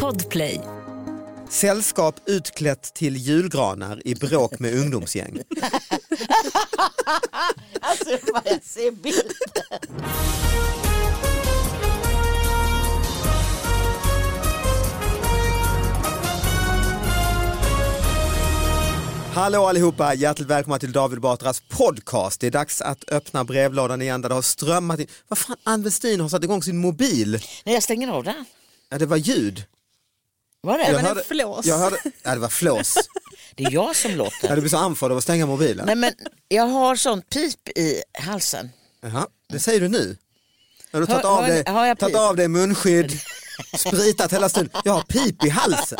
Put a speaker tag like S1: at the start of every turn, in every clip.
S1: Podplay.
S2: Sällskap utklätt till julgranar i bråk med ungdomsgäng.
S3: Alltså vad jag ser bilden.
S2: Hallå allihopa, hjärtligt välkomna till David Batras podcast. Det är dags att öppna brevlådan igen där det har strömmat in. Vad fan, Ann Westin har satt igång sin mobil.
S3: Nej jag stänger av den.
S2: Ja, det var ljud.
S3: Var det?
S2: Jag
S4: en flås.
S2: Jag hörde, ja, det var flås.
S3: Det är jag som låter.
S2: Ja, du blev så andfådd av att stänga mobilen.
S3: Nej men jag har sånt pip i halsen.
S2: Jaha, det säger du nu. Har du
S3: Hör-
S2: tagit av
S3: hör-
S2: dig,
S3: har jag
S2: tagit
S3: pip?
S2: av dig munskydd, spritat hela stunden. Jag har pip i halsen.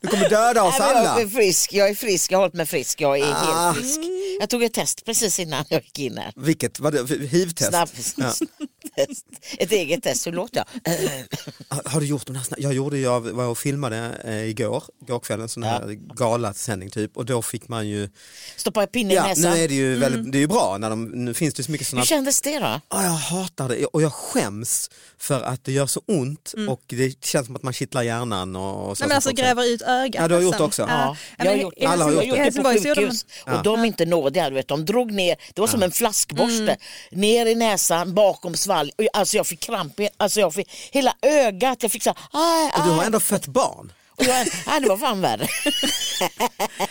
S2: Du kommer döda oss
S3: Nej, men jag
S2: alla.
S3: är frisk, jag är frisk, jag har hållit mig frisk, jag är
S2: Ah.
S3: helt frisk. Jag tog ett test precis innan jag gick in här.
S2: Vilket? Vad det, hivtest?
S3: Snabb,
S2: Ja.
S3: test. Ett eget test, hur låter jag?
S2: Har- Har du gjort de här snabb... Jag gjorde, jag var och filmade eh, igår, igår kväll, en sån här galasändning typ och då fick man ju,
S3: Stoppa pinnen i
S2: ja nu
S3: näsan.
S2: är det ju väldigt, det är ju bra när de, nu finns det ju så mycket såna
S3: Hur kändes Mm. det då?
S2: Ah, jag hatar det och jag skäms för att det gör så ont
S3: Mm.
S2: och det känns som att man kittlar hjärnan. Och, och så
S4: Nej, men alltså
S2: också.
S4: gräver ut ögat.
S2: Ja, du har gjort
S4: nästan.
S2: också.
S4: Ja. Ja,
S3: jag
S4: men
S3: har gjort
S4: i
S2: Alla har
S4: Helsingborg-
S2: gjort
S4: i
S2: det.
S3: Jag gjorde
S4: Helsingborg
S3: det
S4: så
S3: på
S4: gjorde de
S3: sjukhus och de är inte nådiga. Du vet. De drog ner, det var som en flaskborste, ner i näsan, bakom svalg. Och jag- Alltså jag fick kramp, i- alltså jag fick hela ögat, jag fick så här, aj,
S2: Och
S3: aj.
S2: du har ändå fött barn.
S3: Och jag, aj, det var fan värre.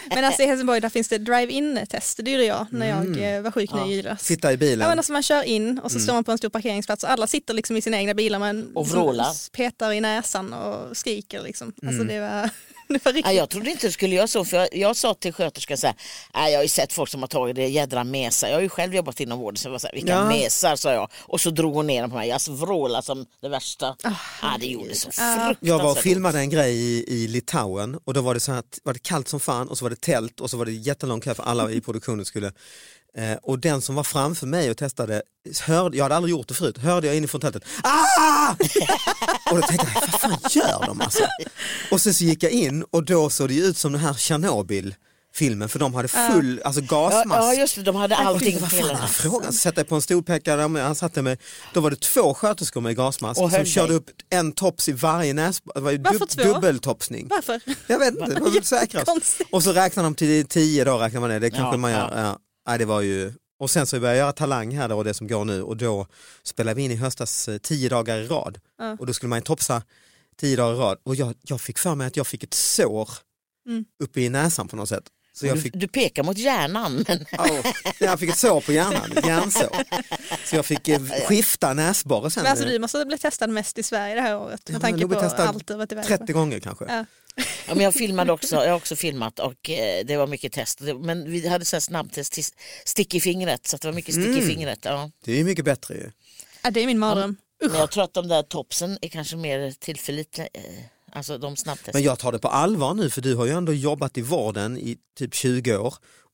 S4: Men alltså i Helsingborg där finns det drive-in test, det gjorde jag när
S2: Mm.
S4: jag eh, var sjuk nu i julas.
S2: Sitta i bilen.
S4: Ja, men alltså man kör in
S2: Mm.
S4: och så står man på en stor parkeringsplats och alla sitter liksom i sina egna bilar man
S3: Och vrålar.
S4: s- petar i näsan och skriker liksom. Alltså
S2: Mm.
S4: det var, det var riktigt.
S3: Nej, jag trodde inte det skulle göra så för jag, jag sa till sköterskan så här, "Nej, jag har ju sett folk som har tagit det jädra mesar. Jag har ju själv jobbat inom vården så jag var så här, vilka
S2: Ja.
S3: mesar sa jag. Och så drog hon ner dem på mig, jag vrålade som det värsta. ja, det gjorde så fruktansvärt
S2: Jag var och
S3: ont.
S2: filmade en grej i, i Litauen och då var det så här att var det kallt som fan och så var det tält och så var det jättelång kö för alla i produktionen skulle eh, och den som var framför mig och testade, hörde, jag hade aldrig gjort det förut, hörde jag inifrån tältet ah! Och då tänkte jag, vad fan gör de alltså? Och sen så gick jag in och då såg det ju ut som den här Tjernobyl filmen för de hade full alltså
S3: Ja,
S2: gasmask.
S3: ja just det, de hade allting
S2: Fy,
S3: på
S2: vad fan är
S3: killarna.
S2: det frågan? Sätt dig på en stolpekare, men han satte mig, då var det två sköterskor med gasmask
S3: Och
S2: som
S3: höll
S2: körde
S3: dig.
S2: upp en tops i varje näs, det var ju
S4: Varför
S2: dub,
S4: två?
S2: dubbeltopsning.
S4: Varför?
S2: Jag vet inte, det var väl säkrast.
S4: Jättekonstigt.
S2: Och så räknar de till tio då, räknar man det, det kanske
S3: Ja,
S2: man gör. Ja. Nej, det var ju... Och sen så började jag göra Talang här då, det som går nu och då spelade vi in i höstas eh, tio dagar i rad och då skulle man ju topsa tio dagar i rad och jag, jag fick för mig att jag fick ett sår uppe i näsan på något sätt. Så jag
S3: Du,
S2: fick
S3: du pekar mot hjärnan men
S2: Ja, jag fick ett sår på hjärnan, ett hjärnsår. Så jag fick eh, skifta näsborre sen. eh,
S4: Men alltså du måste bli testad mest i Sverige det här året
S2: Ja, men
S4: med tanke
S2: nog
S4: på
S2: blir testad
S4: allt du har varit iväg på.
S2: 30 gånger kanske.
S4: Ja.
S3: Ja, men jag filmade också, jag har också filmat och eh, det var mycket test. Det- Men vi hade så här snabbtest, till stick i fingret, så att det var mycket stick i
S2: Mm.
S3: fingret. Ja.
S2: Det är ju mycket bättre ju.
S4: Ja, det är min mardröm. Usch.
S3: Men jag tror att de där topsen är kanske mer tillförlitliga, eh, alltså de snabbtest.
S2: Men jag tar det på allvar nu för du har ju ändå jobbat i vården i typ 20 år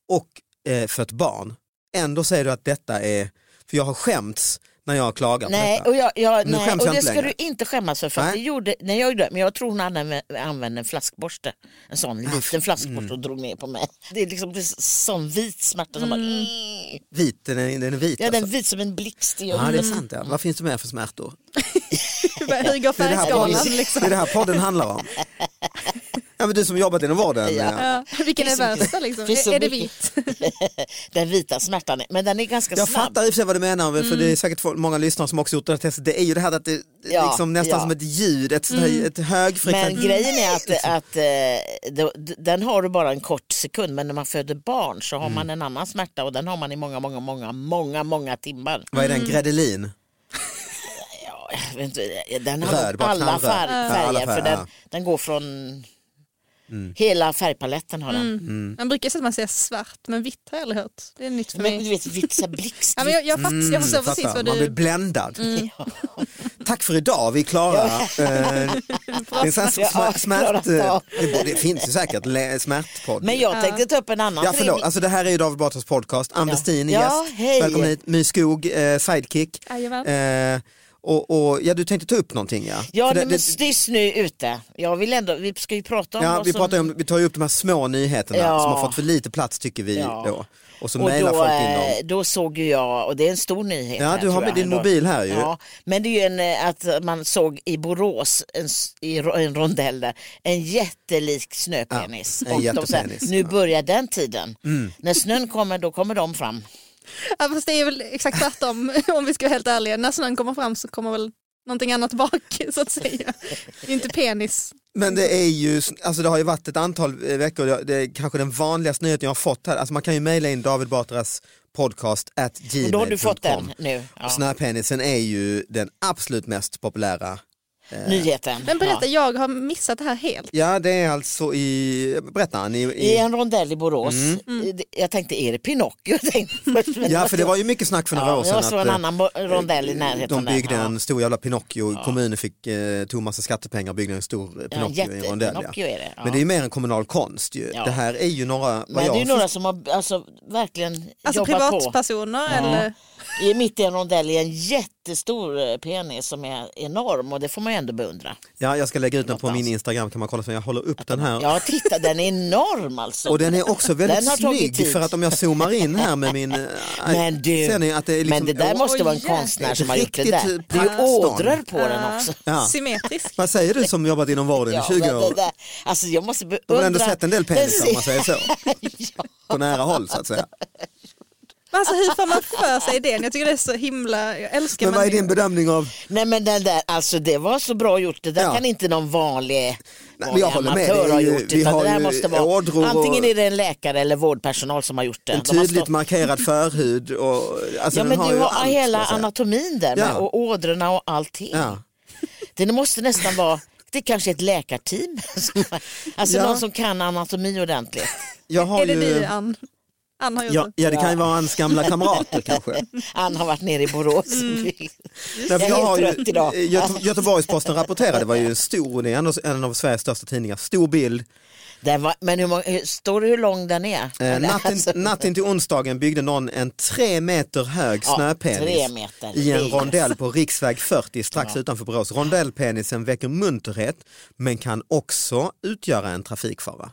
S2: och eh, fött barn. Ändå säger du att detta är, för jag har skämts när jag klagar på
S3: Nej,
S2: detta.
S3: och, jag, jag,
S2: Nu
S3: nej,
S2: skäms
S3: och
S2: jag
S3: det
S2: inte
S3: ska
S2: längre.
S3: du inte skämmas för. för
S2: Nej.
S3: att det gjorde, nej, jag gjorde, men jag tror hon använde, använde en flaskborste. En sån liten flaskborste
S2: Mm.
S3: och drog ner på mig. Det är liksom det är sån vit smärta som bara...
S2: Vit, den är, den är vit
S3: Ja,
S2: Mm.
S3: den är
S2: alltså. Ah.
S3: vit som en blixt i
S2: Ja, det är
S3: ögonen.
S2: sant. Ja. Vad finns det mer för smärtor?
S4: Hur går
S2: Det är det, här
S4: färgskalan?
S2: podden,
S3: liksom.
S2: det är det här podden handlar om. Ja, men du som jobbat inom vården. eh,
S3: Ja.
S2: Ja.
S4: Ja, vilken är
S3: Finns så
S4: värsta liksom?
S3: finns så
S4: Är, är det
S3: mycket.
S4: vit?
S3: Den vita smärtan, är- men den är ganska
S2: Jag
S3: snabb. Mm.
S2: fattar i och för sig vad du menar, för det är säkert folk- många lyssnare som också gjort det här testet. Det är ju det här att det
S3: Ja,
S2: liksom nästan
S3: ja. Mm.
S2: som ett ljud, ett, sånt här- ett
S3: Men
S2: högfrekvent...
S3: grejen är att,
S2: Liksom.
S3: att eh, då- d- den har du bara en kort sekund men när man föder barn så
S2: Mm.
S3: har man en annan smärta och den har man i många, många, många, många, många timmar.
S2: Vad är den? Gredelin?
S3: Ja, jag vet inte, den har
S2: Röd, bara
S3: alla
S2: knallröd.
S3: färg,
S2: Ja,
S3: färger
S2: alla färger,
S3: för den,
S2: ja. Mm.
S3: den går från hela färgpaletten har den.
S4: Man brukar säga att man säger svart men vitt har jag aldrig hört. Det är nytt för
S3: Men du
S4: mig.
S3: vet, vitt så här blixt.
S4: Ja, men jag, jag, fatt, jag förstår
S2: Mm, fattar.
S4: precis vad
S2: Man blir
S4: du...
S2: bländad.
S3: Mm.
S2: Tack för idag, vi är klara. Eh, det är en sån här
S3: Ja,
S2: smärt, smärt,
S3: klara.
S2: det borde- det finns ju säkert le- smärtpodd.
S3: Men jag tänkte ta upp en annan
S2: Ja förlåt,
S3: trevlig-
S2: alltså det här är ju David Batras podcast, Ann
S3: Ja.
S2: Westin är
S3: Ja,
S2: gäst,
S3: hej.
S2: välkommen hit, My Skog, eh, sidekick.
S4: Jajamän.
S2: Eh, och, och, ja, du tänkte ta upp någonting ja?
S3: Ja,
S2: För det-
S3: nej, men det är snö ute. Jag vill ändå, vi ska ju prata om
S2: Ja,
S3: vad
S2: vi,
S3: som...
S2: pratar ju om, vi tar ju upp de här små nyheterna
S3: Ja.
S2: som har fått för lite plats tycker vi
S3: Ja.
S2: då. Och så
S3: Och
S2: mejlar
S3: då,
S2: folk in
S3: eh,
S2: dem.
S3: då såg ju jag, och det är en stor nyhet.
S2: Ja,
S3: här,
S2: du har
S3: tror
S2: med
S3: jag
S2: din
S3: ändå.
S2: mobil här ju.
S3: Ja, men det är ju en, eh, att man såg i Borås, en, s- i ro- en rondell där, en jättelik snöpenis.
S2: Ja, en
S3: och de sa,
S2: jättepenis. Mm.
S3: nu
S2: Ja.
S3: börjar den tiden. När snön kommer, då kommer de fram.
S4: Ja, fast det är väl exakt tvärtom om vi ska vara helt ärliga. När snön kommer fram så kommer väl någonting annat bak så att säga. Det är Inte penis.
S2: Men det är ju, alltså det har ju varit ett antal eh, veckor, det- det är kanske den vanligaste nyheten jag har fått här. Alltså man kan ju mejla in David Batras podcast at
S3: Och
S2: gmail.com.
S3: då har du fått den nu. Ja.
S2: Snöpenisen är ju den absolut mest populära.
S3: Nyheten.
S4: Men berätta,
S3: ja.
S4: jag har missat det här helt.
S2: Ja det är alltså i, berätta Ann, i,
S3: I
S2: i,
S3: en rondell i Borås.
S4: Mm.
S3: Det- Jag tänkte, är det Pinocchio? Jag tänkte först, men
S2: Mm. ja för det var ju mycket snack för några
S3: Ja,
S2: år
S3: det
S2: sedan.
S3: var så en
S2: eh,
S3: annan bo- rondell i närheten
S2: De
S3: där,
S2: byggde
S3: ja.
S2: en stor jävla Pinocchio, kommunen fick, eh, tog massa skattepengar och byggde en stor eh,
S3: Ja,
S2: Pinocchio i en rondell.
S3: jätte-Pinocchio är det, ja.
S2: Men det är ju mer en kommunal konst ju.
S3: Ja.
S2: Det här är ju några, vad
S3: Men det är ju
S2: jag
S3: några som har alltså, verkligen
S4: Alltså
S3: jobbat på.
S4: privatpersoner eller?
S3: I mitt i en rondell är en jättestor eh, penis som är enorm och det får man ju ändå beundra.
S2: Ja, jag ska lägga ut den på
S3: Någonstans.
S2: min Instagram kan man kolla, så jag håller upp den här.
S3: Ja titta den är enorm alltså.
S2: Och den är också väldigt
S3: Den har tagit
S2: snygg
S3: tid.
S2: för att om jag zoomar in här med min... eh,
S3: men du,
S2: ser ni att det är liksom,
S3: men det där
S2: Åh,
S3: måste vara en
S4: Oj, jäklar.
S3: konstnär som har gjort det
S2: Riktigt eh,
S3: där. Det är ju
S2: praktstånd.
S3: ådror på den
S4: Ja.
S3: också.
S2: Ja.
S4: eh, Symmetrisk.
S2: Vad säger du som jobbat inom vården i
S3: Ja,
S2: 20
S3: men det
S2: år?
S3: där- alltså jag måste beundra.
S2: Du har ändå sett en del
S3: Den
S2: penisar om man
S3: ser-
S2: säger så,
S3: ja.
S2: på nära håll så att säga.
S4: Men alltså hur får man för sig den? Jag tycker det är så himla, jag älskar
S2: Men vad är
S4: människor.
S2: din bedömning av...
S3: Nej men den där, alltså det var så bra gjort. Det där
S2: Ja.
S3: kan inte någon vanlig,
S2: men
S3: vanlig
S2: jag håller med.
S3: amatör
S2: Det är
S3: ha
S2: ju-
S3: gjort.
S2: vi
S3: Utan
S2: har
S3: det där
S2: ju
S3: måste vara,
S2: ådror och-
S3: antingen är det en läkare eller vårdpersonal som har gjort det.
S2: En
S3: De har
S2: tydligt
S3: stått-
S2: markerad förhud och... Alltså
S3: ja
S2: den
S3: men
S2: har
S3: du
S2: ju
S3: har
S2: allt,
S3: hela
S2: ska jag säga.
S3: anatomin där med,
S2: Ja.
S3: och ådrorna och allting.
S2: Ja.
S3: Det måste nästan vara, det kanske är ett läkarteam. som- alltså
S2: Ja.
S3: någon som kan anatomi ordentligt.
S2: Jag har
S4: Är det
S2: ju...
S4: du Ann? Ann har gjort
S2: Ja,
S4: det.
S2: ja, det kan ju vara hans gamla kamrater kanske.
S3: Ann har varit nere i Borås.
S2: Mm. Nej, för
S3: Jag är
S2: jag har
S3: helt trött idag.
S2: ju, Eh, Göte, Göteborgsposten rapporterade, det var ju en stor, det är en av- en av Sveriges största tidningar, stor bild.
S3: Den var, men hur, många, hur- står det hur lång den är?
S2: Eh,
S3: Eller,
S2: natten,
S3: alltså,
S2: natten till onsdagen byggde någon en tre meter hög
S3: Ja, tre
S2: snöpenis
S3: meter.
S2: i en
S3: Det är-
S2: rondell på riksväg 40 strax utanför Borås. Rondellpenisen väcker munterhet men kan också utgöra en trafikfara.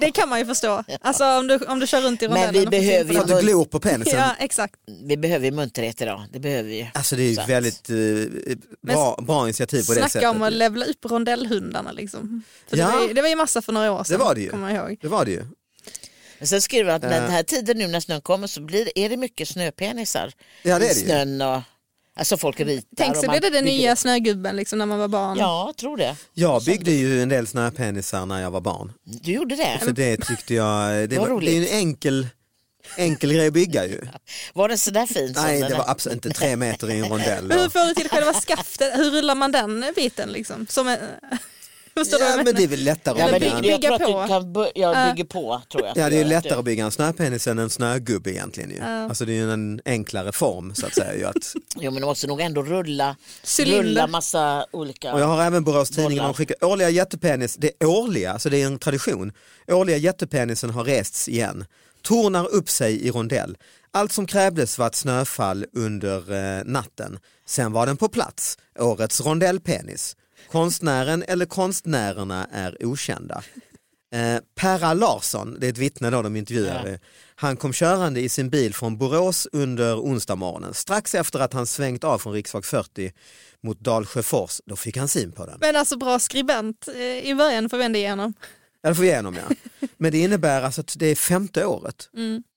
S4: Det kan man ju förstå. Alltså om du, om du kör runt i
S3: Men
S4: rondellen.
S3: vi
S4: och får se
S3: behöver
S2: För
S3: ju-
S4: på den.
S2: att du glor på penisen.
S4: Ja exakt.
S3: vi behöver ju munterhet idag, det behöver vi ju.
S2: Alltså det är ju
S3: Så att-
S2: väldigt eh, bra, bra initiativ på det
S4: Snacka
S2: sättet.
S4: om att levla upp rondellhundarna liksom. För
S2: Ja.
S4: det, var ju, det var ju massa för några år sedan.
S2: Det var det ju.
S4: Kommer jag ihåg.
S2: Det var det ju.
S3: Men sen skriver han att med
S2: Eh.
S3: den här tiden nu när snön kommer så blir, är det mycket snöpenisar.
S2: Ja, det är
S3: I
S2: det ju.
S3: snön och, alltså folk ritar.
S4: Tänk
S3: och
S4: så
S3: man
S4: blev det den
S3: bygger
S4: nya
S3: upp.
S4: snögubben liksom, när man var barn.
S3: Ja, jag tror det.
S2: Jag byggde ju en del snöpenisar när jag var barn.
S3: Du gjorde det.
S2: Så det tyckte jag, det,
S3: Vad
S2: var,
S3: roligt.
S2: det är ju en enkel, enkel grej att bygga ju.
S3: Var den sådär fin? som
S2: Nej
S3: den
S2: det
S3: är?
S2: var absolut inte tre meter i en rondell.
S4: Men hur
S2: och-
S4: får du till själva skaftet? Hur rullar man den biten liksom? Som en... Förstår du vad
S2: Ja men
S4: jag menar?
S2: det är väl lättare
S3: Ja,
S2: att
S3: men
S4: Eller
S2: bygga
S3: det,
S2: en
S3: det, jag
S4: bygga
S3: tror att
S4: på.
S3: du kan bö- jag
S4: Eh.
S3: bygger på tror jag.
S2: Ja
S3: att
S2: det är
S3: du-
S2: ju
S3: att du-
S2: lättare att bygga en snöpenis än en snögubbe egentligen ju. Alltså det är ju en enklare form så att säga. ju Att,
S3: Jo men du måste nog ändå rulla,
S4: Cylinder.
S3: rulla massa olika.
S2: och jag har även Borås Tidning,
S3: Bollar.
S2: de skickar årliga jättepenis, det är årliga, så det är en tradition. Årliga jättepenisen har rests igen, tornar upp sig i rondell. Allt som krävdes var ett snöfall under eh, natten. Sen var den på plats, årets rondellpenis. Konstnären eller konstnärerna är okända. Eh, Perra Larsson, det är ett vittne då de eh, intervjuade, han kom körande i sin bil från Borås under onsdag morgonen. Strax efter att han svängt av från riksväg 40 mot Dalsjöfors, då fick han syn på den.
S4: Men alltså bra skribent eh, i början får vi ändå igenom.
S2: Ja, det får vi igenom ja. Men det innebär alltså att det är femte året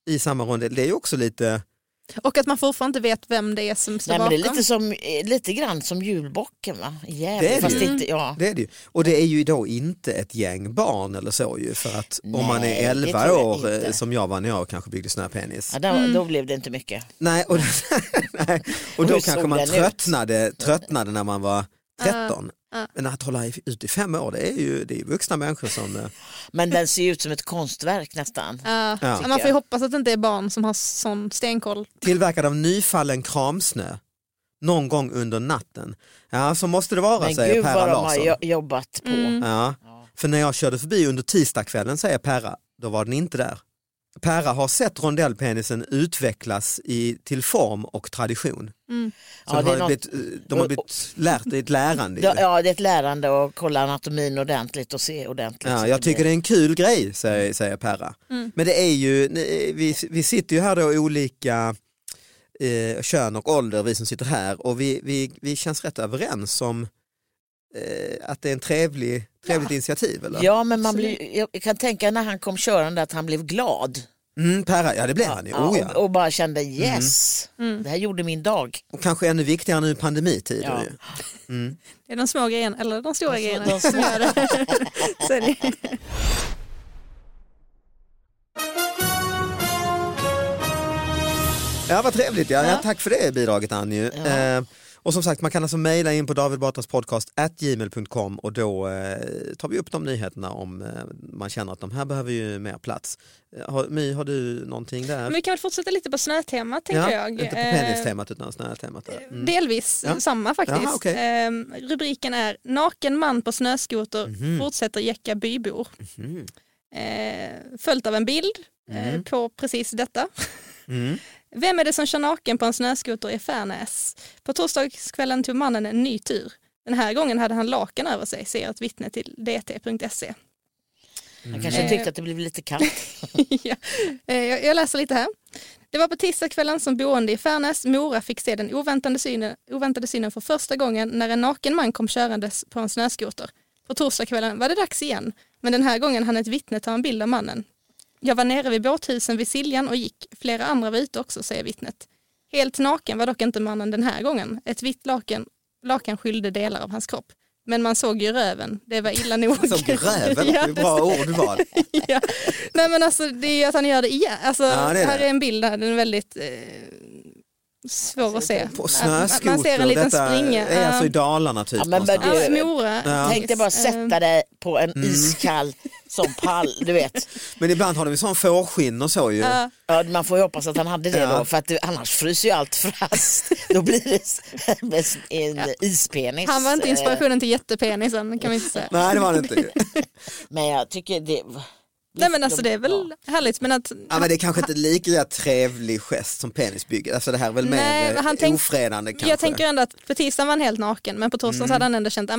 S2: i samma rondell. Det är ju också lite,
S4: Och att man fortfarande inte vet vem det är som står
S3: Nej, men det är
S4: bakom.
S3: lite, som, eh, lite grann som julbocken va? Jävligt,
S2: Det är det
S3: fast
S2: ju. Mm.
S3: inte, ja.
S2: det är det ju. Och det är ju då inte ett gäng barn eller så ju. För att om man
S3: Nej,
S2: är
S3: det tror
S2: 11
S3: jag
S2: år eh,
S3: inte.
S2: som jag var när jag kanske byggde snöpenis.
S3: ja då,
S4: Mm.
S3: då blev det inte mycket.
S2: Nej, och, nej, och då
S3: Hur
S2: kanske
S3: såg
S2: man
S3: den ut?
S2: tröttnade, tröttnade när man var 13.
S4: ja.
S2: Men att hålla i- ut i fem år, det är ju, det är ju vuxna människor som... eh,
S3: Men den ser ju ut som ett konstverk nästan.
S4: Ja,
S2: Ja.
S4: Man får ju hoppas att det inte är barn som har sån stenkoll.
S2: Tillverkad av nyfallen kramsnö, någon gång under natten. Ja, så måste det vara,
S3: Men
S2: säger
S3: gud
S2: Perra
S3: vad de har
S2: Larsson.
S3: jo- jobbat på.
S4: Mm.
S2: Ja. För när jag körde förbi under tisdagskvällen, säger Perra, då var den inte där. Perra har sett rondellpenisen utvecklas i, till form och tradition. Så
S4: mm.
S3: Ja,
S2: de,
S3: det
S2: har
S3: är något-
S2: blivit, eh, de har blivit lärt, det är ett lärande. i
S3: Ja,
S2: det.
S3: ja, det är ett lärande att kolla anatomin ordentligt och se ordentligt.
S2: Ja,
S3: Så
S2: jag
S3: blir-
S2: tycker det är en kul grej, säger, säger Perra. Men det är ju, vi, vi sitter ju här då i olika eh, kön och ålder, vi som sitter här, och vi, vi, vi känns rätt överens om eh, att det är en trevlig, trevligt initiativ. Eller?
S3: Ja, men man blir, jag kan tänka när han kom körande att han blev glad.
S2: Mm, Perra, ja det blev han ju. Oh, ja.
S3: och, och bara kände yes,
S4: Mm.
S3: det här gjorde min dag.
S2: Och kanske ännu viktigare nu i pandemitider.
S3: Ja.
S2: Ju.
S4: Det är de små grejerna, eller de stora grejerna
S3: de
S4: som gör det. Så är det.
S2: Ja, vad trevligt. Ja. Ja. tack för det bidraget Annie. Eh, och som sagt, man kan alltså mejla in på davidbatraspodcast.gmail.com och då eh, tar vi upp de nyheterna om eh, man känner att de här behöver ju mer plats. Eh, Har, My, har du någonting där?
S4: Men vi kan väl fortsätta lite på snötemat tänker
S2: ja,
S4: jag.
S2: Inte på
S4: Eh,
S2: penningstemat utan snötemat. där. Mm.
S4: Delvis
S2: Ja.
S4: samma faktiskt.
S2: Jaha, okej.
S4: Ehm, rubriken är Naken man på snöskoter fortsätter jäcka bybor.
S2: Mhm.
S4: Eh, följt av en bild eh, på precis detta.
S2: Mm.
S4: Vem är det som kör naken på en snöskoter i Färnäs? På torsdagskvällen tog mannen en ny tur. Den här gången hade han lakan över sig, säger ett vittne till dt.se.
S3: Han kanske
S4: Mm.
S3: tyckte att det blev lite kallt.
S4: ja. Eh, jag, jag läser lite här. Det var på tisdagskvällen som boende i Färnäs, Mora, fick se den oväntade synen, oväntade synen för första gången när en naken man kom körandes på en snöskoter. På torsdagskvällen var det dags igen, men den här gången hann ett vittne ta en bild av mannen. Jag var nere vid båthusen vid Siljan och gick. Flera andra var ute också, säger vittnet. Helt naken var dock inte mannen den här gången. Ett vitt lakan, lakan skylde delar av hans kropp. Men man såg ju röven. Det var illa nog.
S2: Som Alltså, gräven,
S4: Ja,
S2: det är bra ordval.
S4: ja. Nej men alltså det är ju att han gör det igen. Alltså,
S2: Ja, det är
S4: här
S2: det.
S4: är en bild där den är väldigt eh,
S3: Alltså,
S4: svår att
S3: typ
S4: se.
S2: På
S4: Att man-
S2: snöskoter,
S4: man ser en liten
S2: detta
S4: springa.
S2: är alltså i
S4: Ja.
S2: Dalarna typ.
S3: Ja, men
S2: någonstans.
S3: vad
S4: Ja,
S3: du-
S4: Mora. Mm.
S2: Ja. Mm.
S3: Tänk dig bara
S4: eh.
S3: sätta dig på en iskall som pall, du vet.
S2: men ibland har de ju sån fårskinn och så ju.
S4: Ja.
S3: Ja, man får ju hoppas att han hade det
S2: Ja.
S3: då, för att du, annars fryser ju allt fast. Då blir det s- med s- en ispenis.
S4: Han var inte
S3: Eh,
S4: inspirationen till jättepenisen kan vi inte säga.
S2: Nej det var det inte. ju.
S3: Men jag tycker det...
S4: Nej men alltså det är väl
S3: Ja.
S4: härligt men att
S2: Ja, men det är kanske inte lika trevlig gest som penisbygget, alltså det här är väl
S4: Nej,
S2: mer
S4: men han
S2: eh,
S4: tänk-
S2: ofredande kanske. Mm.
S4: jag tänker ändå att på tisdagen var han helt naken men på torsdagen så hade han ändå känt att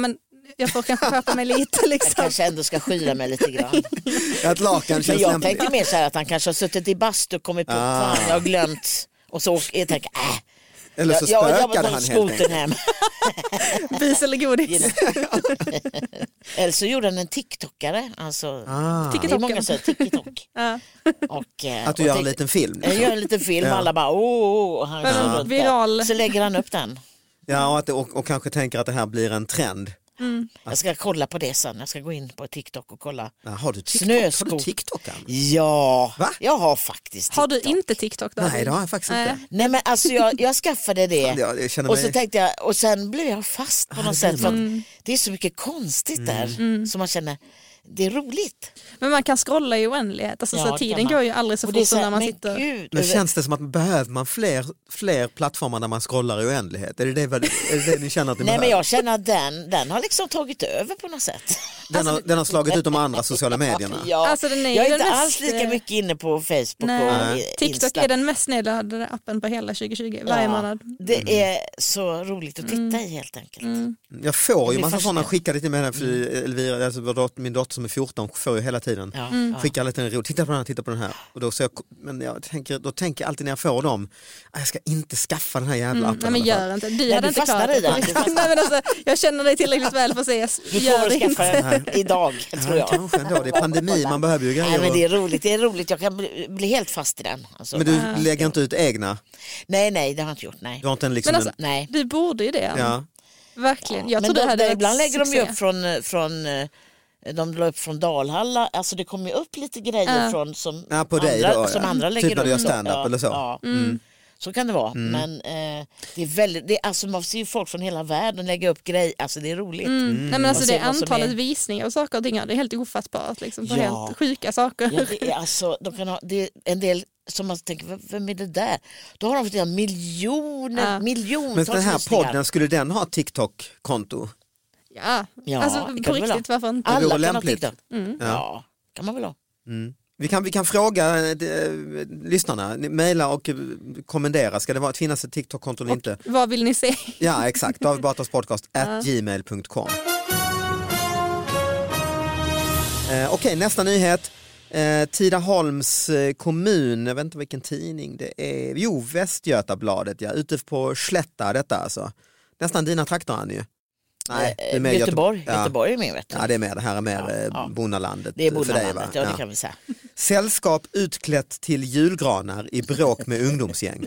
S4: jag får kanske skärpa mig lite
S3: Jag
S4: liksom.
S3: kanske ändå ska skyla mig lite grann.
S2: Att lakan
S3: Men
S2: känns
S3: jag
S2: lämpligt.
S3: tänkte mer så här att han kanske har suttit i bastu och kommit på
S2: Ah.
S3: fan jag har glömt. Och så åker, jag tänker äh,
S2: Eller så
S3: jag, jag, jag
S2: spökade
S3: har
S2: han
S3: tagit
S2: helt
S3: skotern
S2: enkelt.
S3: hem.
S4: Bus eller godis.
S3: Eller så gjorde han en TikTokare. Alltså,
S2: Ah,
S3: det är många som säger TikTok.
S4: Ja.
S3: Och, eh,
S2: att du
S3: och
S2: gör en
S3: tänk-
S2: liten film.
S3: Jag
S2: Liksom.
S3: gör en liten film
S2: Ja.
S3: alla bara åh, åh, åh, han
S4: Ja.
S3: går runt där.
S4: Viral.
S3: Så lägger han upp den.
S2: Ja, och, att, det- och, och kanske tänker att det här blir en trend.
S3: Jag ska kolla på det sen. Jag ska gå in på TikTok och kolla.
S2: Ja, har du TikTok?
S3: Snöskot.
S2: Har du TikTok Ann?
S3: Ja,
S2: Va?
S3: jag har faktiskt
S4: Har du
S3: TikTok.
S4: inte TikTok då?
S2: Nej det har jag faktiskt inte.
S4: Nej.
S3: Nej men alltså jag, jag skaffade det.
S2: Ja, jag känner
S3: Och så
S2: mig-
S3: tänkte jag, och sen blev jag fast
S2: Ah,
S3: på något sätt för
S4: Mm.
S3: att det är så mycket konstigt
S2: Mm.
S3: där som man känner, det är roligt.
S4: Men man kan scrolla i oändlighet, alltså,
S3: Ja,
S4: så
S3: det
S4: att
S3: kan
S4: tiden
S3: man.
S4: går ju aldrig så
S3: och
S4: fort
S3: det är
S4: som
S3: här,
S4: när man
S3: men
S4: sitter
S3: Gud,
S2: Men känns det som att behöver man fler, fler plattformar där man scrollar i oändlighet? Är det det, vad- är det, det ni känner att ni
S3: Nej men
S2: behöver?
S3: jag känner att den, den har liksom tagit över på något sätt.
S2: Den,
S3: alltså-
S2: har, den har slagit ut de andra sociala medierna.
S3: Ja.
S4: Alltså, den är ju
S3: jag är
S4: den
S3: inte
S4: mest,
S3: alls lika
S4: eh,
S3: mycket inne på Facebook och
S4: Nej.
S3: i-
S4: TikTok
S3: Insta.
S4: är den mest nedladdade appen på hela 2020 varje månad.
S2: Mm.
S4: Mm.
S3: Det är så roligt att titta i helt enkelt.
S2: Jag får ju
S3: Det är
S2: massa sådana
S3: fascinerande.
S2: skickade till mig, för Elvira, alltså vår dot- min dotter som är 14 får ju hela tiden.
S3: Ja,
S4: Mm.
S3: ja.
S2: Skickar lite ro, titta på den här, titta på den här. Och då, så jag, men jag tänker, då tänker jag alltid när jag får dem, "Ah, jag ska inte skaffa den här jävla
S4: Mm,
S2: appen.
S4: nej men
S2: i alla fall."
S4: gör inte, du
S3: du
S4: hade inte
S3: fastnar
S4: klarat det.
S3: i den. Du fastnar.
S4: nej, men alltså, jag känner dig tillräckligt väl för att säga s-
S3: Du
S4: gör
S3: kommer
S4: det
S3: att skaffa
S4: inte.
S3: den idag tror
S2: Ja,
S3: jag.
S2: kanske ändå, det är pandemi, man behöver ju grejer.
S3: Nej, men
S2: och-
S3: det är roligt, det är roligt. Jag kan bli, bli helt fast i den. Alltså.
S2: men du lägger inte ut egna?
S3: Nej, nej, det har jag inte gjort. Nej.
S2: Du har inte en liksom
S4: Men alltså, mm.
S2: en,
S3: nej.
S4: du borde ju det.
S2: ja.
S4: Verkligen. Jag
S3: men
S4: tror det
S3: de-
S4: hade varit
S3: ibland lägger de ju
S4: succé.
S3: upp från, från eh, de la upp från Dalhalla, alltså det kommer ju upp lite grejer
S4: Ja.
S3: från som,
S2: Ja, på
S3: andra,
S2: dig då, ja.
S3: som andra
S2: Typ
S3: lägger
S2: när du gör
S3: upp.
S2: stand-up
S3: ja,
S2: eller så. Mm.
S3: Ja.
S4: Mm.
S3: Så kan det vara. Men eh, det är väldigt, det är, alltså, man ser ju folk från hela världen lägga upp grejer, alltså det är roligt.
S4: Mm. Nej, men alltså,
S3: Man
S4: det
S3: ser vad som
S4: antalet
S3: är-
S4: visningar och saker och ting, ja, det är helt ofattbart. Liksom, på
S3: Ja.
S4: helt sjuka saker.
S3: Ja, det är alltså, de kan ha, det är en del som man tänker, "Vem- vem är det där? Då har de fått göra miljoner,
S4: Ja.
S2: Men
S3: miljontals
S2: den här
S3: lyssningar.
S2: podden, skulle den ha TikTok-konto?
S4: Ja.
S3: Ja,
S4: alltså
S3: det kan
S4: på
S3: du väl
S4: riktigt, varför inte?
S2: vore
S3: Alla kan ha
S4: Mm.
S2: lämpligt.
S3: TikTok. Ja. kan man väl ha.
S2: Mm. Vi kan, vi kan fråga eh, de, lyssnarna, Ni- mejla och eh, kommendera, ska det vara, finnas ett TikTok-konto eller inte?
S4: Vad vill ni se?
S2: Ja exakt, David Batras podcast at gmail.com. Eh, Okej, nästa nyhet. Eh, Tidaholms eh, kommun, jag vet inte vilken tidning det är, jo Västgötabladet ja, ute på Slätta detta alltså. Nästan dina trakter han ju. Nej, det är
S3: Eh,
S2: med Göte-
S3: Göteborg,
S2: Ja.
S3: Göteborg är med vet du.
S2: Ja det är med, det här är mer
S3: Ja,
S2: eh,
S3: ja.
S2: bonnalandet.
S3: Det är
S2: eh, för dig, va?
S3: bonnalandet, ja det kan vi säga.
S2: Sällskap utklätt till julgranar i bråk med ungdomsgäng.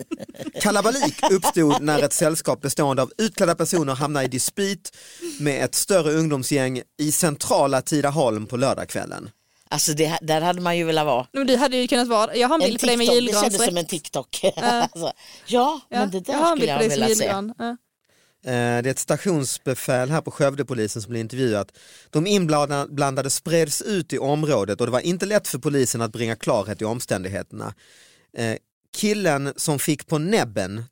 S2: Kalabalik uppstod när ett sällskap bestående av utklädda personer hamnade i dispyt med ett större ungdomsgäng i centrala Tidaholm på lördagskvällen.
S3: Alltså det, där hade man ju velat vara.
S4: Men du hade ju kunnat vara Jag har en bild på dig med
S3: det kändes som
S4: julgransdräkt.
S3: en TikTok. alltså, ja,
S4: Ja,
S3: men det där
S4: jag har en
S3: skulle
S4: bild
S3: jag
S4: på dig som
S3: vilja se.
S4: julgran. Ja.
S2: Eh, Det är ett stationsbefäl här på Skövdepolisen som blir intervjuat. De inblandade spreds ut i området och det var inte lätt för polisen att bringa klarhet i omständigheterna. Eh, Killen som fick på näbben,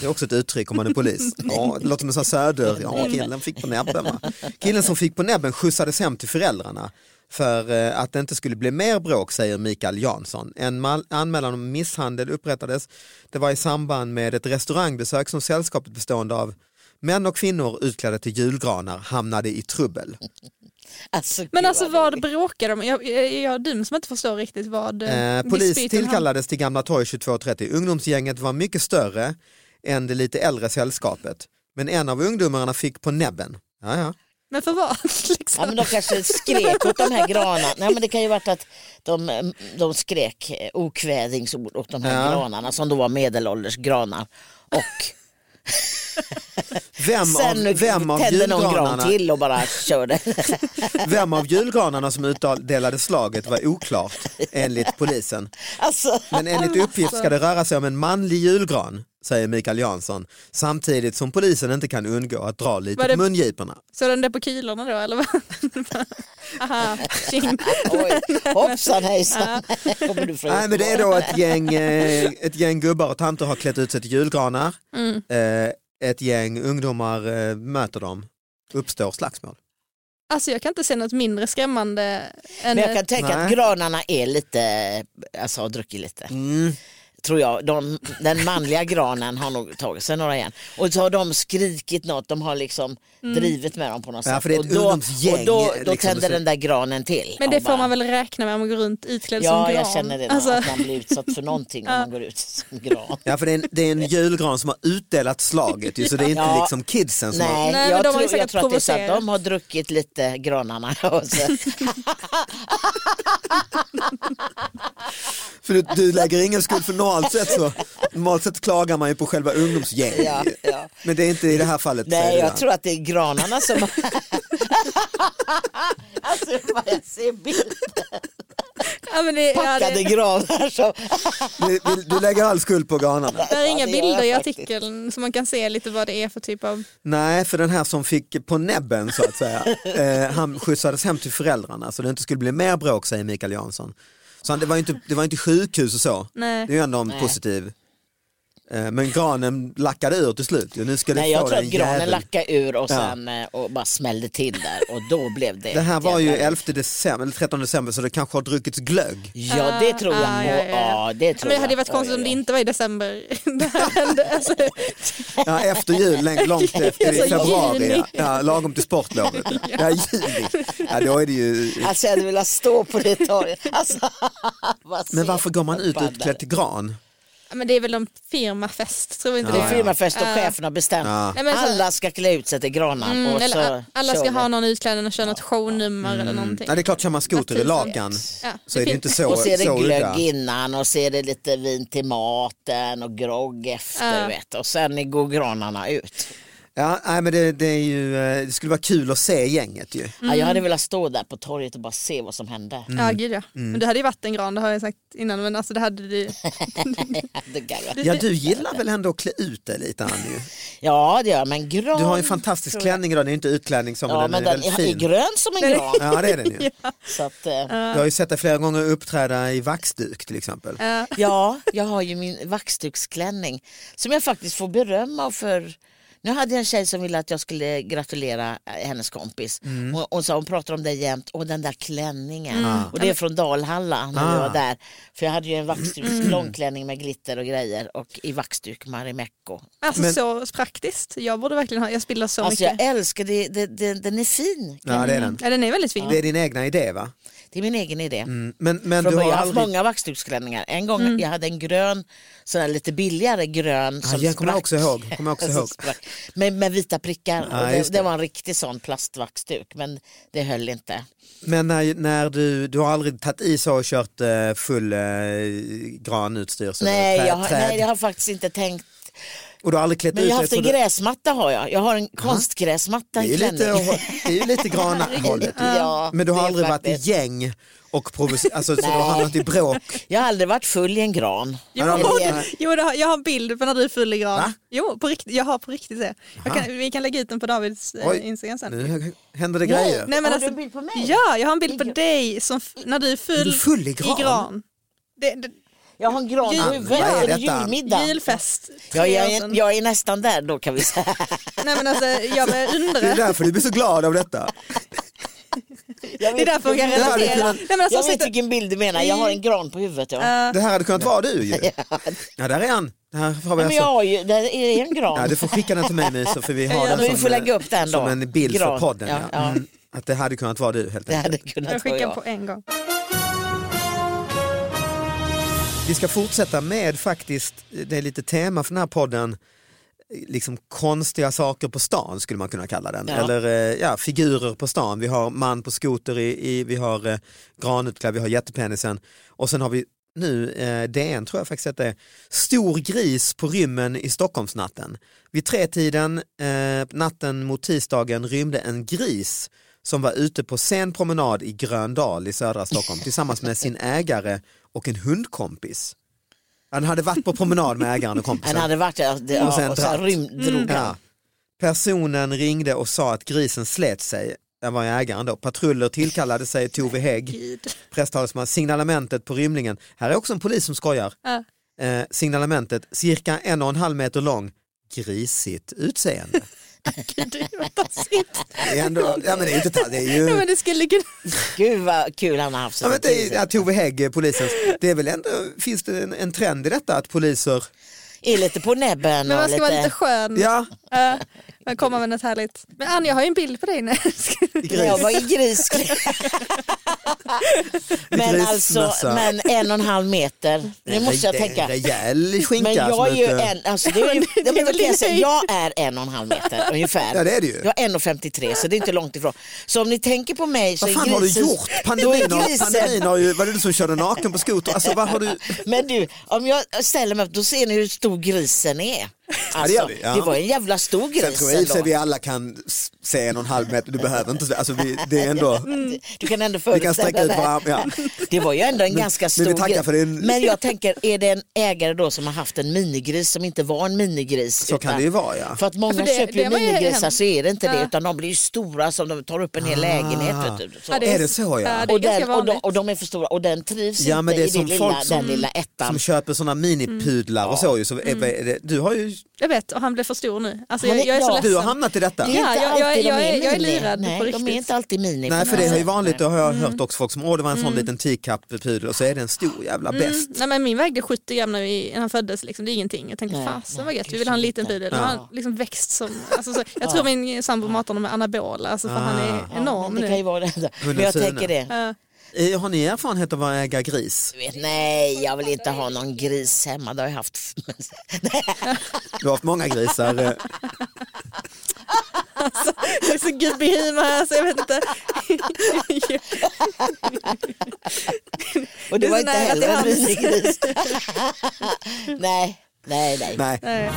S2: det är också ett uttryck om man är polis, ja, det låter som en sån här söder, ja killen fick på näbben. Va? Killen som fick på näbben skjutsades hem till föräldrarna för eh, att det inte skulle bli mer bråk säger Mikael Jansson. En mal- anmälan om misshandel upprättades. Det var i samband med ett restaurangbesök som sällskapet bestående av Män och kvinnor utklädda till julgranar hamnade i trubbel. Eh,
S3: Alltså,
S4: Men
S3: gud,
S4: alltså
S3: vad
S4: vad
S3: roligt.
S4: bråkar de om? Jag, jag, jag är dum som inte förstår riktigt vad eh,
S2: Eh, polis
S4: dispyten handlar om.
S2: tillkallades till Gamla Torg 22.30. Ungdomsgänget var mycket större än det lite äldre sällskapet. Men en av ungdomarna fick på näbben. Ja, ja.
S4: Men för vad? liksom?
S3: Ja, men de kanske skrek åt de här granarna. Nej, men det kan ju varit att de, de skrek eh, okvädingsord åt de här
S2: Ja.
S3: granarna som då var medelålders granar. Och
S2: Vem,
S3: sen
S2: av, vem, av
S3: tände någon gran
S2: julgranarna,
S3: till och bara körde.
S2: vem av julgranarna som utdelade slaget var oklart enligt polisen.
S3: alltså,
S2: Men enligt uppgift ska det röra sig om en manlig julgran, säger Mikael Jansson. Samtidigt som polisen inte kan undgå att dra lite
S4: Var det-
S2: på mungiporna.
S4: Så den där på kilorna då eller vad? Aha, tjing.
S3: oj, hoppsan hejsan. Kommer du från
S2: Nej men det är då ett gäng, eh, ett gäng gubbar och tanter har klätt ut sig till julgranar.
S4: Mm.
S2: Eh, Ett gäng ungdomar eh, möter dem, uppstår slagsmål.
S4: Alltså jag kan inte se något mindre skrämmande än...
S3: Men jag kan tänka att
S2: Nej.
S3: granarna är lite, alltså har druckit lite. Tror jag. De, den manliga granen har nog tagit sig några igen. Och så har de skrikit något, de har liksom
S4: Mm.
S3: drivit med dem på något sätt.
S2: Ja, för det är ett
S3: och då,
S2: ungdomsgäng,
S3: och då, då
S2: liksom,
S3: tänder
S2: så-
S3: den där granen till.
S4: men det
S3: Och
S4: får man väl räkna med om man går runt iklädd som
S3: Ja,
S4: gran?
S3: jag känner det. nog,
S4: Alltså,
S3: Att man blir utsatt för någonting om man går ut som gran.
S2: Ja för det är, en, det är en julgran som har utdelat slaget ju, så det är inte
S3: Ja.
S2: liksom kidsen som har...
S3: Nej,
S4: men
S3: jag,
S4: de har ju
S3: tror, jag
S4: säkert
S3: tror att det är så att
S4: provocerat.
S3: de har druckit lite granarna. Och så,
S2: För du, du lägger ingen skuld för normalt sett så, normalt sett klagar man ju på själva ungdomsgäng.
S3: ja, ja.
S2: Men det är inte i det här fallet. säger
S3: Nej,
S2: du,
S3: jag
S2: va?
S3: tror att det är granarna som... alltså, vad jag ser bilder.
S4: ja, men det, ja,
S3: Packade
S4: det,
S3: granar som...
S2: Du, du- du lägger all skuld på granarna.
S4: det är
S3: Ja,
S4: inga
S3: det gör
S4: bilder i
S3: jag faktiskt.
S4: artikeln så man kan se lite vad det är för typ av...
S2: Nej, för den här som fick på näbben så att säga, eh, han skjutsades hem till föräldrarna så det inte skulle bli mer bråk säger Mikael Jansson. Så han, det, var ju inte, det var inte sjukhus och så,
S4: Nej.
S2: det är ju ändå en
S3: Nej.
S2: positiv. Eh, men granen lackade ur till slut ju. nu ska du
S3: Nej,
S2: få
S3: jag tror
S2: dig
S3: att
S2: en
S3: granen
S2: jävel.
S3: lackade ur och
S2: Ja.
S3: sen eh, och bara smällde till där och då blev det...
S2: Det här var ju
S3: jävla-
S2: 11 december, eller 13 december så det kanske har druckits glögg.
S3: Ja, det tror jag.
S4: Ah,
S3: nog.
S4: ja, ja, ja.
S3: ja, det tror
S4: Men det
S3: jag.
S4: hade ju varit
S3: Oj,
S4: konstigt om
S3: oj,
S4: det
S3: oj.
S4: inte var i december det här hände. Alltså,
S2: Ja, efter jul, långt, långt efter
S4: Alltså,
S2: i februari,
S4: juni.
S2: ja. ja, lagom till sportlovet. Ja, juni. Ja, då är det ju...
S3: Alltså jag hade velat stå på det torget. Alltså, vad
S2: Men
S3: ser
S2: varför går man ut
S3: jag?
S2: utklädd till gran?
S4: Ja, men det är väl en firmafest, tror inte
S3: Det
S4: det?
S3: är firmafest och chefen har bestämt.
S2: Ja.
S4: Ah. Nej, men så-
S3: Alla ska klä ut sig till granar.
S4: Mm,
S3: och så
S4: eller a- alla
S3: kör vi.
S4: ska ha någon utklädning och köra något shownummer eller någonting.
S2: Mm. Ja, det är klart, kör man skoter i lakan
S4: Ja,
S2: så är det
S4: finns-
S2: ju inte så
S3: Och så är det
S2: så
S3: glögg
S2: udda.
S3: innan och så är det lite vin till maten och grogg efter.
S4: Ja.
S3: Vet. Och sen går granarna ut.
S2: Ja, nej, men det, det, är ju, eh, det skulle vara kul att se gänget ju.
S3: Ja, jag hade velat stå där på torget och bara se vad som hände.
S2: Mm.
S4: Ja gud ja. Men du hade ju varit en gran, det har jag sagt innan men alltså det hade du.
S3: Det kan jag-
S2: Ja, du gillar väl ändå att klä ut dig lite Annie?
S3: Ja det gör jag, men gran.
S2: Du har ju en fantastisk klänning idag, det är ju inte utklädning som
S3: Ja
S2: den,
S3: men
S2: är
S3: den
S2: väldigt
S3: är
S2: fin.
S3: grön som en gran.
S2: Ja, det är den ju.
S3: Så att, eh,
S2: Jag har ju sett dig flera gånger uppträda i vaxduk till exempel.
S4: Ja.
S3: ja, jag har ju min vaxduksklänning som jag faktiskt får beröm av för Nu hade jag en tjej som ville att jag skulle gratulera eh, hennes kompis.
S2: Mm.
S3: Och, och så hon pratar om det jämt, och den där klänningen. Och det är från Dalhalla när vi
S2: Ah. Mm.
S3: var där. För jag hade ju en vaxdukslång klänning med glitter och grejer och i vaxduk Marimekko.
S4: Alltså
S2: Men-
S4: så praktiskt. Jag borde verkligen ha, jag spiller så
S3: Alltså jag
S4: mycket.
S3: älskar det, det, det, den är fin.
S2: Ja, det är den.
S4: Ja, den är väldigt fin.
S2: Det är din egna idé va?
S3: Det är min egen idé.
S2: Mm. Men, men
S3: Från
S2: du
S3: början,
S2: har
S3: jag har haft
S2: aldrig...
S3: många vaxduksklänningar. En gång
S4: Mm.
S3: jag hade en grön, sån här lite billigare grön
S2: Ja,
S3: som
S2: jag kommer
S3: sprack.
S2: också ihåg, kommer också
S3: Som
S2: ihåg.
S3: sprack. Med, med vita prickar.
S2: Ja,
S3: och det,
S2: just
S3: det.
S2: det.
S3: var en riktig sån plastvaxduk men det höll inte.
S2: Men när, när du, du har aldrig tagit i så och kört eh, full eh, granutstyrsel?
S3: Nej
S2: trä-
S3: jag, har-
S2: träd.
S3: nej, jag har faktiskt inte tänkt.
S2: Och du har aldrig klätt
S3: Men
S2: ut
S3: jag har
S2: dig
S3: haft
S2: så
S3: en
S2: du-
S3: gräsmatta har jag. Jag har en konstgräsmatta
S2: Det är
S3: i
S2: ju lite,
S3: klänning.
S2: det är ju lite granahållet.
S3: Ja,
S2: Men du har
S3: det är
S2: aldrig varit i
S3: faktiskt-
S2: gäng och provocerat, alltså så du har
S3: Nej.
S2: hamnat i bråk.
S3: Jag har aldrig varit full i en gran.
S4: Jo,
S2: Ja, de-
S4: det- jo det har, jag har bild på när du fyller
S2: Va?
S4: gran. Jo, på riktigt, jag har på riktigt det. Jag kan, vi kan lägga ut den på Davids eh,
S2: Oj.
S4: Instagram sen.
S2: Nu händer det
S3: Nej.
S2: grejer.
S4: Nej, men
S3: Har du
S4: alltså,
S3: en bild på mig?
S4: Ja, jag har en bild
S3: I
S4: på
S3: gr-
S4: dig som f- när du är full,
S2: Är du full i gran?
S4: Det, det,
S3: Jag har en gran
S4: Jul-
S3: på huvudet.
S2: Vad är
S3: Är det
S2: detta?
S3: julmiddag?
S4: Julfest.
S3: Ja,
S4: tre
S3: jag,
S4: år sedan.
S3: är, jag är nästan där då kan vi säga.
S4: Nej, men alltså, jag börjar
S2: Det är
S4: undra.
S2: därför du blir så glad av detta.
S3: Jag
S4: Det är
S3: vet
S4: därför hon kan
S3: inte-
S2: hade
S4: relatera.
S2: kunnat-
S4: Nej, men alltså,
S3: Jag
S4: hon
S3: vet
S4: sitter,
S3: vilken bild du menar, jag har en gran på huvudet. Ja.
S4: eh,
S2: Det här hade kunnat vara du ju. Ja, där är han. Det Här har vi
S3: Men jag
S2: alltså.
S3: har ju, där är det en gran.
S2: ja, du får skicka den till mig Myso för vi
S4: Ja,
S2: har
S4: men
S2: den
S3: vi
S2: som, eh,
S3: får lägga upp den då.
S2: som en bild för
S3: Gran.
S2: podden.
S3: Ja,
S2: Ja.
S3: ja.
S2: Mm. Att det hade kunnat vara du helt
S3: Det hade
S2: enkelt.
S4: jag
S3: kunnat vara
S4: skickar
S3: jag.
S4: på en gång.
S2: Vi ska fortsätta med faktiskt, eh, det är lite tema för den här podden, liksom konstiga saker på stan skulle man kunna kalla den.
S3: Ja.
S2: Eller eh, ja, figurer på stan. Vi har man på skoter, i, i, vi har eh, granutklädd, vi har jättepenisen och sen har vi nu eh, DN tror jag faktiskt att det är, stor gris på rymmen i Stockholmsnatten. Vid tretiden eh, natten mot tisdagen rymde en gris som var ute på sen promenad i Gröndal i södra Stockholm tillsammans med sin ägare och en hundkompis. Han hade varit på promenad med ägaren och kompisen.
S3: Han hade varit där det-
S2: Och sen
S3: ja, och sen
S2: drack.
S3: rymd,
S4: Mm.
S3: drog han.
S2: Ja. Personen ringde och sa att grisen slet sig. Det var ägaren då. Patruller tillkallade sig Tove Hägg,
S4: Gud.
S2: presstalesman. Signalementet på rymlingen. Här är också en polis som skojar.
S4: Ja.
S2: Eh, signalementet, cirka en och en halv meter lång. Grisigt utseende.
S4: Gud, det var taskigt.
S2: Det är, ändå, ja, men det är, ju inte, ta- det är
S4: Ja,
S3: Mm.
S2: ju...
S4: men det skulle kunna...
S3: Gud vad kul han har haft.
S2: Ja,
S3: sig
S2: men
S3: till
S2: det är,
S3: priset.
S2: ja, Tove Hägg, eh, polisen. Det är väl ändå, finns det en, en trend i detta att poliser,
S3: Är lite på näbben
S4: Men
S3: och
S4: man ska vara lite
S3: lite...
S4: skön.
S2: ja,
S4: Ja, man kommer med något härligt. Men Ann, jag har ju en bild på dig. Nej, jag skojar.
S3: Jag var i gris. men alltså,
S2: Grismössa.
S3: men en och en halv meter. Nu måste jag
S2: det är en
S3: tänka.
S2: rejäl skinka.
S3: Men
S2: som eh,
S3: jag är ju
S2: inte-
S3: en, alltså det är ju,
S4: det är
S3: ja, men det
S4: väl
S3: kan jag, säga,
S4: dig.
S3: jag är en och en halv meter ungefär.
S2: Ja, det är det ju.
S3: Jag är 1,53 så det är inte långt ifrån. Så om ni tänker på mig så
S2: Vad
S3: är
S2: fan har du
S3: grisen-
S2: gjort? Pandemin,
S3: då är
S2: har,
S3: grisen-
S2: pandemin har ju, var det du som körde naken på skoter? Alltså vad har du?
S3: Men du, om jag ställer mig upp då ser ni hur stor grisen är. Alltså,
S2: det gör vi, ja.
S3: det var en jävla stor gris
S2: Sen tror jag i och för sig
S3: ändå.
S2: vi alla kan s- se en och en halv meter, du behöver inte, alltså vi, det är ändå,
S3: Du kan ändå
S2: vi kan sträcka
S3: föreställa
S2: ut
S3: dig.
S2: våra armar. Ja.
S3: Det var ju ändå en ganska
S2: men
S3: stor
S2: vi tackar
S3: gris.
S2: för din-
S3: Men jag tänker, är det en ägare då som har haft en minigris som inte var en minigris?
S2: Så kan det ju vara ja.
S3: För att många
S4: För det-
S3: köper
S4: det
S3: ju
S4: var ju
S3: minigrisar
S4: hemskt.
S3: så är det inte det
S4: Ja.
S3: utan de blir ju stora som de tar upp en hel
S2: Ah.
S3: lägenhet. Vet du, så.
S4: Ja,
S2: Är det så, ja?
S4: det är
S3: och,
S4: ganska
S3: den, och, de,
S4: vanligt.
S3: och de är för stora och den trivs
S2: Ja,
S3: inte
S2: men det är
S3: i
S2: som
S3: den lilla,
S2: folk som-
S3: den lilla ettan.
S2: Som köper sådana minipudlar
S3: Mm.
S2: och så ju. Så är, är det, du har ju,
S4: Jag vet, och han blev för stor nu. Alltså,
S3: Han
S4: jag,
S3: är-
S4: jag är så
S3: ja.
S2: du har
S4: ledsen.
S2: hamnat i detta.
S3: Det är
S4: Ja,
S3: inte
S4: jag- jag-
S3: alltid de
S4: jag är-
S3: mini.
S4: jag är lurad
S3: Nej,
S4: på
S3: de
S4: riktigt.
S3: är inte alltid mini.
S2: Nej för det är ju
S3: Nej.
S2: vanligt, det har jag
S3: Mm.
S2: hört också folk som, åh det var en sån liten teacup-pudel och så är det en stor jävla
S3: Mm.
S2: bäst.
S4: Nej, men min vägde 70 gram när, vi, när han föddes, liksom, det är ingenting. Jag tänkte
S3: Nej,
S4: fasen
S3: nej,
S4: vad gött,
S3: det
S4: vi
S3: är
S4: vill ha en
S3: så
S4: liten
S3: lite.
S4: pudel. Och Han
S2: Ja.
S4: liksom växt som, alltså, så, jag tror min sambo matar honom med anabola, alltså, för han
S2: Ah.
S4: är enorm
S3: Ja, det
S4: nu.
S3: kan ju vara det. enda. Men jag
S2: Hundens
S3: tänker det.
S4: Ja.
S2: Eh, Har ni erfarenhet av att äga gris?
S3: Du vet, Nej, jag vill inte ha någon gris hemma. Det har jag haft.
S2: Du har haft många grisar. eh.
S4: Det är så gud behima, alltså, jag vet inte.
S3: Och det,
S4: Det är
S3: var
S4: så
S3: inte
S4: nära
S3: heller en
S4: till
S3: minigris. nej, nej, nej.
S2: Nej.
S4: Nej.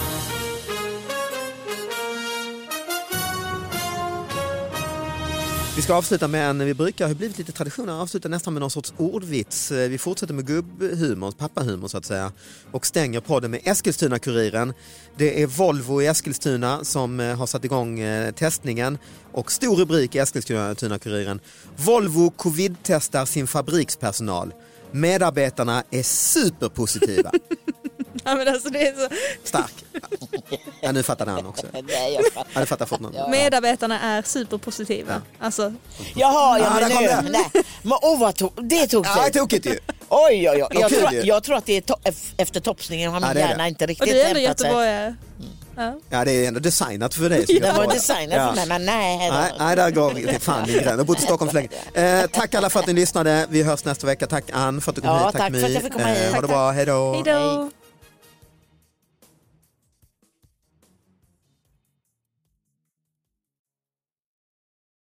S2: Vi ska avsluta med en, vi brukar har blivit lite tradition att avsluta nästan med någon sorts ordvits. Eh, Vi fortsätter med gubbhumorn, pappahumorn så att säga. Och stänger podden med Eskilstuna-Kuriren. Det är Volvo i Eskilstuna som eh, har satt igång eh, testningen. Och stor rubrik i Eskilstuna-Kuriren. Volvo covid-testar sin fabrikspersonal. Medarbetarna är superpositiva.
S4: Ja, men alltså, det är så.
S2: Stark. Ja, nu fattade han också.
S3: Nej, jag fattar.
S2: Ja, det fattar Fortman.
S3: Ja.
S4: Medarbetarna är superpositiva. Alltså,
S3: Jaha, ja,
S2: Ah,
S3: men
S2: där kom
S3: nu.
S2: det.
S3: Nej. Men åh, vad to- det tog
S2: Ja,
S3: sig.
S2: tokigt ju.
S3: Oj, oj, oj. Jag,
S2: Vad kul
S3: tror,
S2: ju.
S3: jag tror att det är to- ef- efter topsningen har min
S2: Ja, det är
S3: hjärna
S2: det.
S3: inte
S4: och
S3: riktigt
S4: du är ändå
S3: hämtat sig. Mm.
S4: göteborgare. Ja.
S2: Ja, det är ändå designat för dig. som
S3: Den var
S2: göteborgare.
S3: designad
S2: Ja.
S3: för mig, men nej. då.
S2: Nej, nej, där gav vi fan din gräns. Jag har bott i Stockholm för länge. Eh, tack alla för att ni lyssnade. Vi hörs nästa vecka. Tack Ann för att du kom
S3: Ja,
S2: hit.
S3: tack för att jag
S2: My.
S3: fick komma
S2: Eh,
S3: hit.
S2: Ha det bra, hej då.
S4: Hej då.